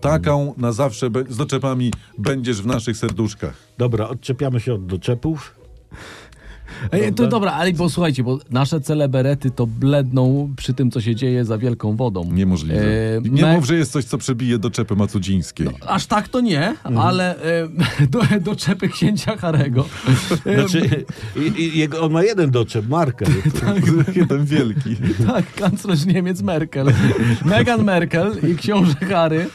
A: Taką na zawsze be- z doczepami będziesz w naszych serduszkach.
D: Dobra, odczepiamy się od doczepów.
C: Ej, to dobra, ale bo słuchajcie, bo nasze celeberety to bledną przy tym, co się dzieje za wielką wodą.
A: Niemożliwe.
C: E,
A: Nie
C: me-
A: mów, że jest coś, co przebije doczepy macodzińskiej.
C: Aż tak to nie,
A: Mhm.
C: ale e, [LAUGHS] do, do czepy księcia Harego. E,
A: [LAUGHS]
D: Znaczy, i, i, jego, on ma jeden doczep, markę.
C: No.
A: [LAUGHS] Jeden wielki.
C: Tak, kanclerz Niemiec Merkel. Meghan Merkel i książę Harry,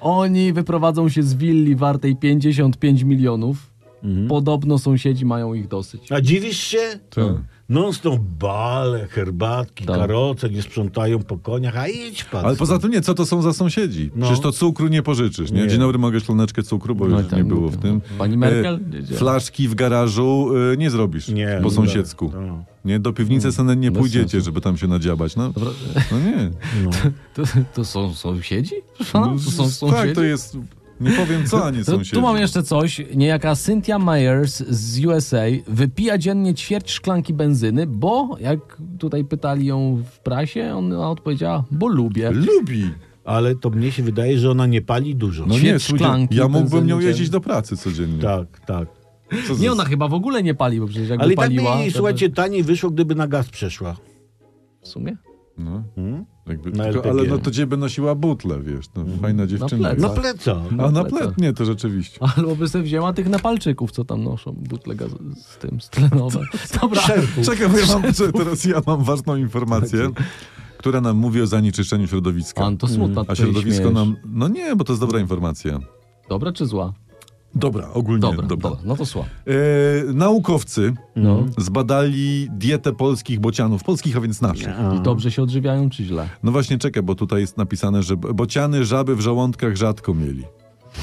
C: oni wyprowadzą się z willi wartej 55 milionów.
A: Mhm.
C: Podobno sąsiedzi mają ich dosyć.
D: A dziwisz się? No,
A: Tak.
D: Non stop bale, herbatki,
C: Tak.
D: karoce nie sprzątają po koniach, a idź pan.
A: Ale poza tym nie, co to są za sąsiedzi?
D: No.
A: Przecież to cukru nie pożyczysz, nie?
D: Nie.
A: Dzień dobry, mogę szklaneczkę cukru, bo
C: No
A: już
C: i tak
A: nie było
C: mówię.
A: w tym.
C: Pani Merkel?
A: E,
C: Nie działa.
A: flaszki w garażu e, nie zrobisz
D: Nie,
A: po
D: nie.
A: sąsiedzku.
D: No.
A: Nie, do piwnicy sen nie
C: Bez
A: pójdziecie, żeby tam się nadziabać. No, no
C: [LAUGHS]
A: nie. No,
C: To, to są sąsiedzi? Pana, to są sąsiedzi?
A: tak, to jest... Nie powiem co, a nie
C: To,
A: sąsiedzi.
C: tu mam jeszcze coś. Niejaka Cynthia Myers z USA wypija dziennie ćwierć szklanki benzyny, bo jak tutaj pytali ją w prasie, ona odpowiedziała, bo lubię.
A: Lubi!
D: ale to mnie się wydaje, że ona nie pali dużo.
A: No
C: Ćwierć
A: nie,
C: szklanki
A: szklanki, ja mógłbym nią
C: benzyny,
A: jeździć do pracy codziennie.
D: Tak, tak.
A: Co za-
C: Nie, ona chyba w ogóle nie pali, bo przecież jakby
D: Ale i tak by
C: paliła...
D: jej,
C: to by-
D: słuchajcie, taniej wyszło, gdyby na gaz przeszła.
C: W sumie?
A: No, jakby,
D: Na
A: tylko,
D: LPG.
A: ale no to ciebie nosiła butle, wiesz, no,
D: Mhm.
A: fajna dziewczyna.
C: plecach.
D: Na
A: jest. [LAUGHS]
D: pleca.
A: A na
C: plecach.
A: pletnie to rzeczywiście.
C: Albo by sobie wzięła tych napalczyków, co tam noszą, butle gaz- z tym, z tlenowe.
A: Tak.
C: Dobra,
D: Szerpu.
A: Czekaj, bo ja mam, czy [LAUGHS] teraz ja mam ważną informację, która nam mówi o zanieczyszczeniu środowiska.
C: Pan, to smutna
A: A
C: tutaj
A: środowisko
C: śmierć.
A: nam... No nie, bo to jest dobra informacja.
C: Dobra czy zła?
A: Dobra, ogólnie
C: Dobra,
A: dobra.
C: dobra. no to sła.
A: E, naukowcy
C: No.
A: zbadali dietę polskich bocianów, polskich, a więc naszych.
C: I dobrze się odżywiają czy źle?
A: No właśnie, czekaj, bo tutaj jest napisane, że b- bociany żaby w żołądkach rzadko mieli.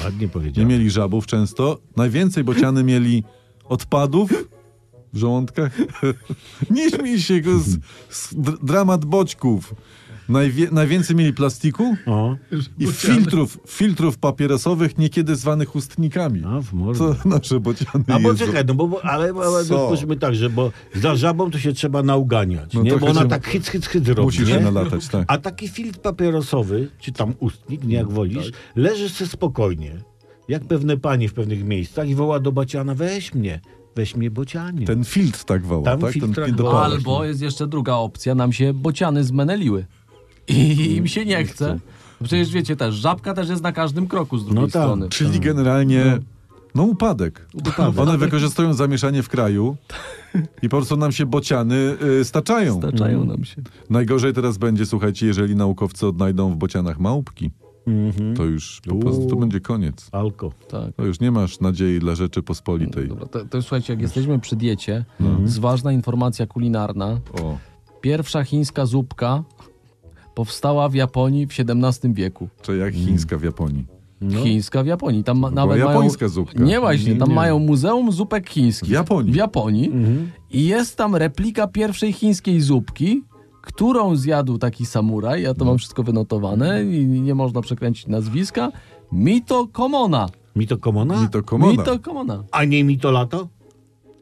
D: Ładnie
A: Nie
D: powiedziałem.
A: mieli żabów często. Najwięcej bociany mieli odpadów w żołądkach. [LAUGHS] Nie śmiej się, go z, z dr- dramat boćków. Najwie, najwięcej mieli plastiku
D: O,
A: i filtrów, filtrów papierosowych, niekiedy zwanych ustnikami.
D: a No, w morzu.
A: To nasze bociany
D: A bo
A: jedzą.
D: czekaj, no bo, bo ale, ale
A: Co?
D: spójrzmy tak, że bo za żabą to się trzeba nauganiać,
A: No
D: nie?
A: trochę
D: Bo ona
A: się-
D: tak hyc, hyc, hyc robi,
A: Musisz
D: nie?
A: się nalatać, tak.
D: A taki filtr papierosowy, czy tam ustnik, nie jak wolisz, leżysz sobie spokojnie, jak pewne panie w pewnych miejscach i woła do baciana, weź mnie, weź mnie bocianie.
A: Ten filtr tak woła,
D: Tam
A: tak?
D: filtr
A: Ten
D: woła.
A: pindopałek.
C: Albo jest jeszcze druga opcja, nam się bociany zmęeliły.
D: [LAUGHS]
C: I im się nie chce. Przecież wiecie też, żabka też jest na każdym kroku z drugiej
D: No tak.
C: strony.
A: Czyli generalnie, no upadek. One wykorzystują zamieszanie w kraju i po prostu nam się bociany y, staczają.
C: Staczają
D: Mhm.
C: nam się.
A: Najgorzej teraz będzie, słuchajcie, jeżeli naukowcy odnajdą w bocianach małpki, to już po prostu to będzie koniec.
D: Alko.
C: Tak.
A: To już nie masz nadziei dla Rzeczypospolitej.
C: No Dobra, to, to słuchajcie, jak jesteśmy przy diecie,
D: Mhm.
C: jest ważna informacja kulinarna.
A: O.
C: Pierwsza chińska zupka powstała w Japonii w XVII wieku.
A: Czy jak chińska w Japonii.
C: Chińska w Japonii. Tam ma, nawet
A: No. japońska
C: mają,
A: zupka.
C: Nie właśnie, tam
A: Nie.
C: mają muzeum zupek chińskich.
A: W Japonii? Mhm.
C: W Japonii. I jest tam replika pierwszej chińskiej zupki, którą zjadł taki samuraj. Ja
A: No.
C: to mam wszystko wynotowane i nie można przekręcić nazwiska. Mito Komona.
D: Mi to komona?
A: I to komona.
C: Mito Komona.
D: A nie mi to lato?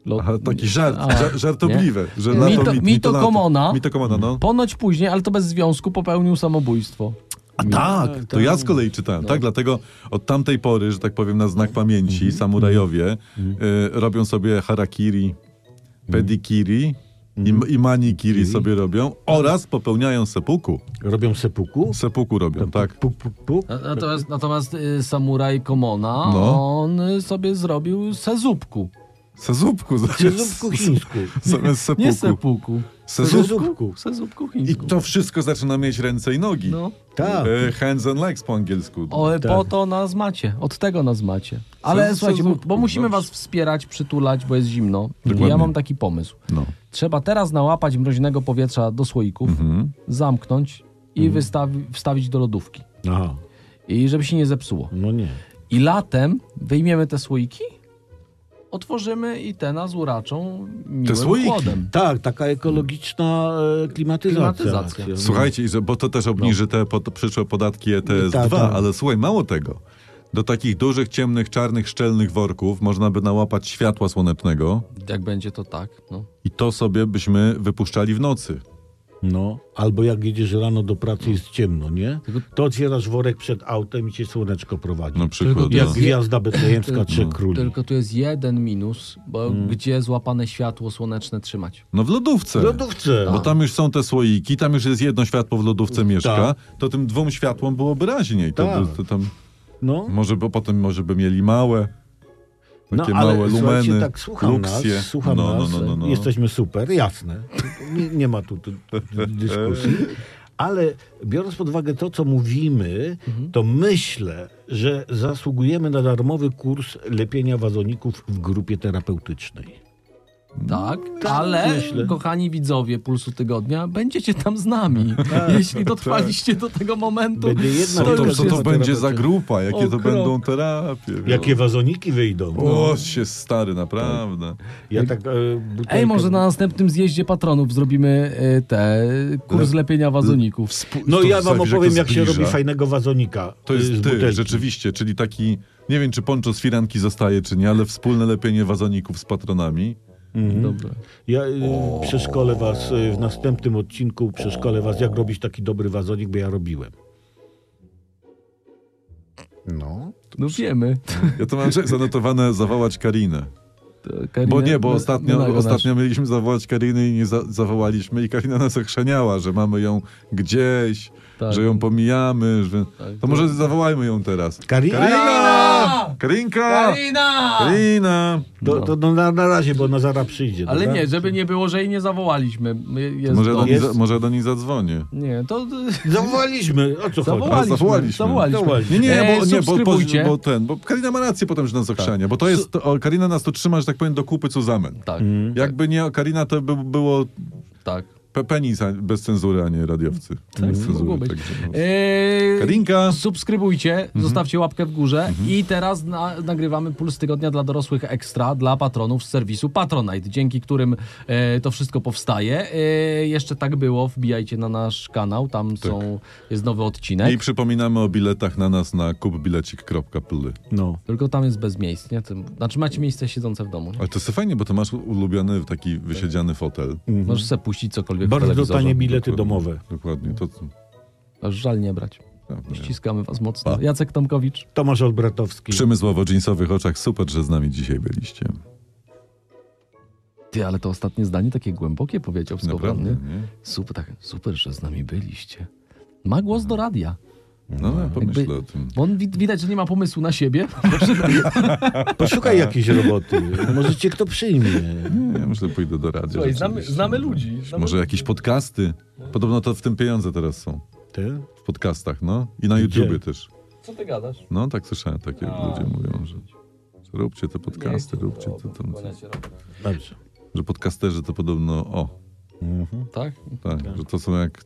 C: Lo-
A: Aha, taki żart,
C: A,
A: ża- żartobliwe. Że lato,
C: Mito-
A: mit-
C: mitokomona.
A: Mitokomona, no.
C: Ponoć później, ale to bez związku, popełnił samobójstwo.
A: A tak, to ja z kolei czytałem, tak? Dlatego od tamtej pory, że tak powiem, na znak pamięci samurajowie y, robią sobie harakiri, pedikiri i, i manikiri sobie robią oraz popełniają sepuku.
D: Robią sepuku?
A: Sepuku robią, tak.
D: Puk, puk, puk.
C: Na- Natomiast, natomiast y, samuraj Komona,
A: No.
C: on y, sobie zrobił sezupku.
A: Sezupku
D: Czy
A: zamiast,
D: zupku chińsku?
A: [LAUGHS] zamiast sepuku.
C: Nie sepuku.
A: Sezupku.
D: Zupku.
C: Sezupku
A: I
C: chińsku.
A: to wszystko zaczyna mieć ręce i nogi.
C: No.
D: Tak.
A: E, hands and legs po angielsku.
C: O, po to nas macie. Od tego nas macie. Ale
A: Co- co
C: słuchajcie,
A: za
C: bo,
A: zupku,
C: bo musimy
A: dobrze.
C: was wspierać, przytulać, bo jest zimno. I ja
A: Dokładnie.
C: mam taki pomysł.
A: No.
C: Trzeba teraz nałapać mroźnego powietrza do słoików,
A: Mhm.
C: zamknąć i wystawi- wstawić do lodówki.
D: Aha,
C: I żeby się nie zepsuło.
D: no nie.
C: I latem wyjmiemy te słoiki, otworzymy i te nas uraczą miłym
A: Te słoiki?
C: chłodem.
D: Tak, taka ekologiczna e, klimatyzacja.
C: Klimatyzacja.
D: No.
A: Słuchajcie, i że- bo to też obniży te pod, przyszłe podatki E ETS-2,
D: Tak, tak.
A: ale słuchaj, mało tego. Do takich dużych, ciemnych, czarnych, szczelnych worków można by nałapać światła słonecznego
C: Jak będzie to tak, no.
A: i to sobie byśmy wypuszczali w nocy.
D: No, albo jak jedziesz rano do pracy,
C: No.
D: jest ciemno, nie? To otwierasz worek przed autem i cię słoneczko prowadzi.
A: Na przykład.
D: Jak
A: no.
D: gwiazda betlejemska
C: Tylko-
D: Trzech Króli.
C: Tylko tu jest jeden minus, bo
A: Mhm.
C: gdzie złapane światło słoneczne trzymać?
A: no w lodówce.
D: W lodówce. Tak.
A: Bo tam już są te słoiki, tam już jest jedno światło w lodówce mieszka, to tym dwóm światłom byłoby raźniej. To,
D: Tak.
A: by- to tam,
D: No,
A: może bo potem może by mieli małe,
D: no
A: takie
D: ale
A: małe
D: słuchajcie,
A: lumeny,
D: tak słucham
A: luksje.
D: nas, słucham
A: no,
D: nas,
A: no, no, no, no.
D: jesteśmy super, jasne. Nie, nie ma tu, tu dyskusji. Ale biorąc pod uwagę to, co mówimy,
C: Mhm.
D: to myślę, że zasługujemy na darmowy kurs lepienia wazoników w grupie terapeutycznej.
C: Tak, ale
D: myślę.
C: kochani widzowie Pulsu Tygodnia, będziecie tam z nami. [LAUGHS] Jeśli dotrwaliście do tego momentu,
D: Będzie jedna
A: Co
D: wielka
A: to, co to
D: grupa
A: będzie za
D: terapeutyczna.
A: grupa? Jakie
C: O,
A: to
C: krok.
A: będą terapie? wiesz?
D: Jakie wazoniki wyjdą.
A: O, się stary, naprawdę.
D: Ja tak, e,
C: Ej,
D: butelkę-
C: może na następnym zjeździe patronów zrobimy y, te kurs lepienia wazoników.
D: No
A: To
D: ja wam
A: zawisz, jak
D: opowiem,
A: to
D: jak się
A: zbliża.
D: robi fajnego wazonika.
A: To
D: e,
A: jest
D: z
A: ty,
D: butelki.
A: rzeczywiście, czyli taki, nie wiem czy poncho z firanki zostaje, czy nie, ale wspólne lepienie wazoników z patronami.
C: Dobra.
D: Ja y, przeszkolę was e, y, w następnym odcinku, przeszkolę was, jak robić taki dobry wazonik, bo ja robiłem. No.
C: No wiemy.
A: Ja to mam [LAUGHS] zanotowane zawołać Karinę.
C: Karinę-
A: Bo nie, bo
C: no,
A: ostatnio,
C: no, no,
A: ostatnio mieliśmy zawołać Karinę i nie za, zawołaliśmy i Karina nas ochrzaniała, że mamy ją gdzieś,
C: Tak.
A: że ją pomijamy, że...
D: Tak,
A: To może zawołajmy ją teraz.
D: Karina!
A: Karina! Karinka!
B: Karina!
A: Karina!
D: To, to, no na, na razie, bo ona zaraz przyjdzie.
C: Ale
D: dobra?
C: nie, żeby nie było, że jej nie zawołaliśmy. My- Jest
A: Może do,
C: dom.
A: niej, za- może do niej zadzwonię.
C: Nie, to...
D: Zawołaliśmy, o co chodzi?
A: A, zawołaliśmy.
C: zawołaliśmy.
A: No Nie, nie,
C: E,
A: bo, nie bo, bo,
C: subskrybujcie.
A: bo ten, bo Karina ma rację potem, że nas ochrzania, bo to jest, to, o, Karina nas tu trzyma, że tak powiem, do kupy cuzamen.
C: Tak,
A: Jakby nie Karina, to by było
C: tak.
A: pe- penis a- bez cenzury, a nie radiowcy. bez
C: mogło Tak, być.
A: także no.
C: Eee,
A: Karinka!
C: Subskrybujcie, zostawcie łapkę w górze i teraz na, nagrywamy Puls Tygodnia dla dorosłych ekstra dla patronów z serwisu Patronite, dzięki którym e, to wszystko powstaje. E, jeszcze tak było, wbijajcie na nasz kanał, tam są, jest nowy odcinek.
A: I przypominamy o biletach na nas na kupbilecik.pl.
D: No.
C: Tylko tam jest bez miejsc, nie? Tym- Znaczy macie miejsce siedzące w domu. Nie?
A: Ale to jest fajnie, bo to masz ulubiony taki wysiedziany fotel.
C: Możesz sobie puścić cokolwiek w
D: Bardzo
C: telewizorze.
D: tanie bilety domowe.
A: Dokładnie. To,
C: Aż żal nie brać. Ściskamy was mocno.
A: Pa.
C: Jacek Tomkowicz.
D: Tomasz Olbratowski.
A: przemysłowo w dżinsowych oczach. Super, że z nami dzisiaj byliście.
C: Ty, ale to ostatnie zdanie takie głębokie powiedział z
A: Naprawdę,
C: Kowrony.
A: nie?
C: Super, tak, super, że z nami byliście. Ma głos do radia.
A: No, no pomyślę o tym.
C: Bo on wi- widać, że nie ma pomysłu na siebie.
D: Poszukaj No
A: Tak.
D: jakiejś roboty. Może cię kto przyjmie.
A: Nie, ja myślę, pójdę do radia.
C: Słuchaj, znamy-
A: rzeczywiście.
C: znamy ludzi, znamy
A: Może jakieś podcasty. Podobno to w tym pieniądze teraz są.
D: Ty?
A: W podcastach, no. I na YouTubie też.
C: Co ty gadasz?
A: No, tak słyszałem, takie ludzie mówią, że że róbcie te podcasty, róbcie to tam. coś.
D: Dobrze.
A: Że podcasterzy to podobno, o,
C: Tak?
A: tak, że to są jak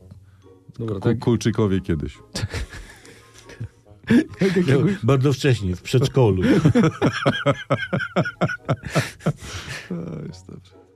C: Dobra, tak.
A: ku- Kulczykowie kiedyś.
D: Bardzo wcześnie, w przedszkolu.
A: To jest dobrze.